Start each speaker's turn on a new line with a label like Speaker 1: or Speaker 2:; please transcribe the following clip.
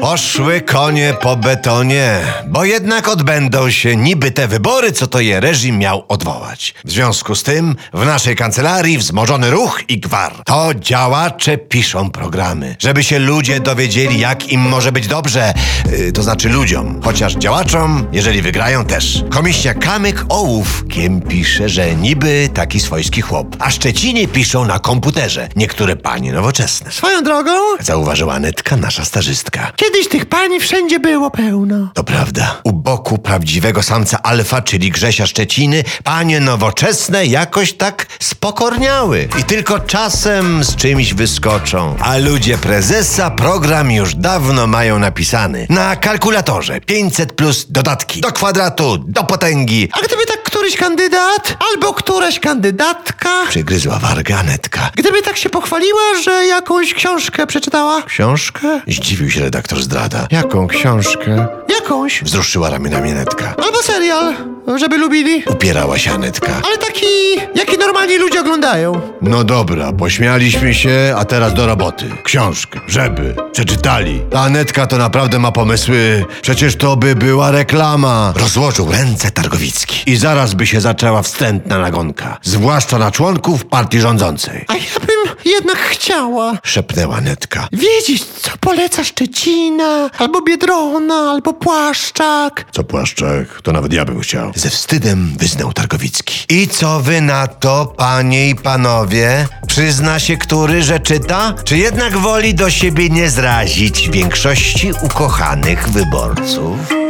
Speaker 1: Poszły konie po betonie, bo jednak odbędą się niby te wybory, co to je reżim miał odwołać. W związku z tym w naszej kancelarii wzmożony ruch i gwar. To działacze piszą programy, żeby się ludzie dowiedzieli, jak im może być dobrze, yy, to znaczy ludziom. Chociaż działaczom, jeżeli wygrają też. Komisja Kamyk ołówkiem pisze, że niby taki swojski chłop. A Szczecinie piszą na komputerze, niektóre panie nowoczesne.
Speaker 2: Swoją drogą,
Speaker 1: Zauważyła Netka, nasza stażystka.
Speaker 2: kiedyś tych pani wszędzie było pełno.
Speaker 1: To prawda. U boku prawdziwego samca alfa, czyli Grzesia Szczeciny, panie nowoczesne jakoś tak spokorniały. I tylko czasem z czymś wyskoczą. A ludzie prezesa program już dawno mają napisany. Na kalkulatorze 500 plus dodatki. Do kwadratu, do potęgi.
Speaker 2: A gdyby tak któryś kandydat albo któraś kandydatka,
Speaker 1: Przygryzła warga Netka.
Speaker 2: gdyby tak się pochwaliła, że jakąś książkę przeczytała,
Speaker 1: Książkę? Zdziwił się redaktor zdrada. Jaką książkę?
Speaker 2: jakąś,
Speaker 1: Wzruszyła ramionami Netka.
Speaker 2: albo serial, żeby lubili,
Speaker 1: Upierała się Anetka.
Speaker 2: ale taki, jaki normalni ludzie oglądają.
Speaker 1: No dobra, pośmialiśmy się, a teraz do roboty. Książkę, żeby przeczytali. Ta Anetka to naprawdę ma pomysły. Przecież to by była reklama. Rozłożył ręce Targowicki. I zaraz by się zaczęła wstrętna nagonka. Zwłaszcza na członków partii rządzącej.
Speaker 2: A ja bym jednak chciała
Speaker 1: Szepnęła Anetka.
Speaker 2: wiedzieć, co poleca Szczecina, albo Biedrona, albo Płaszczak.
Speaker 1: Co płaszczek, to nawet ja bym chciał. Ze wstydem wyznał Targowicki. I co wy na to, panie i panowie? Przyzna się który, że czyta? Czy jednak woli do siebie nie zrazić większości ukochanych wyborców?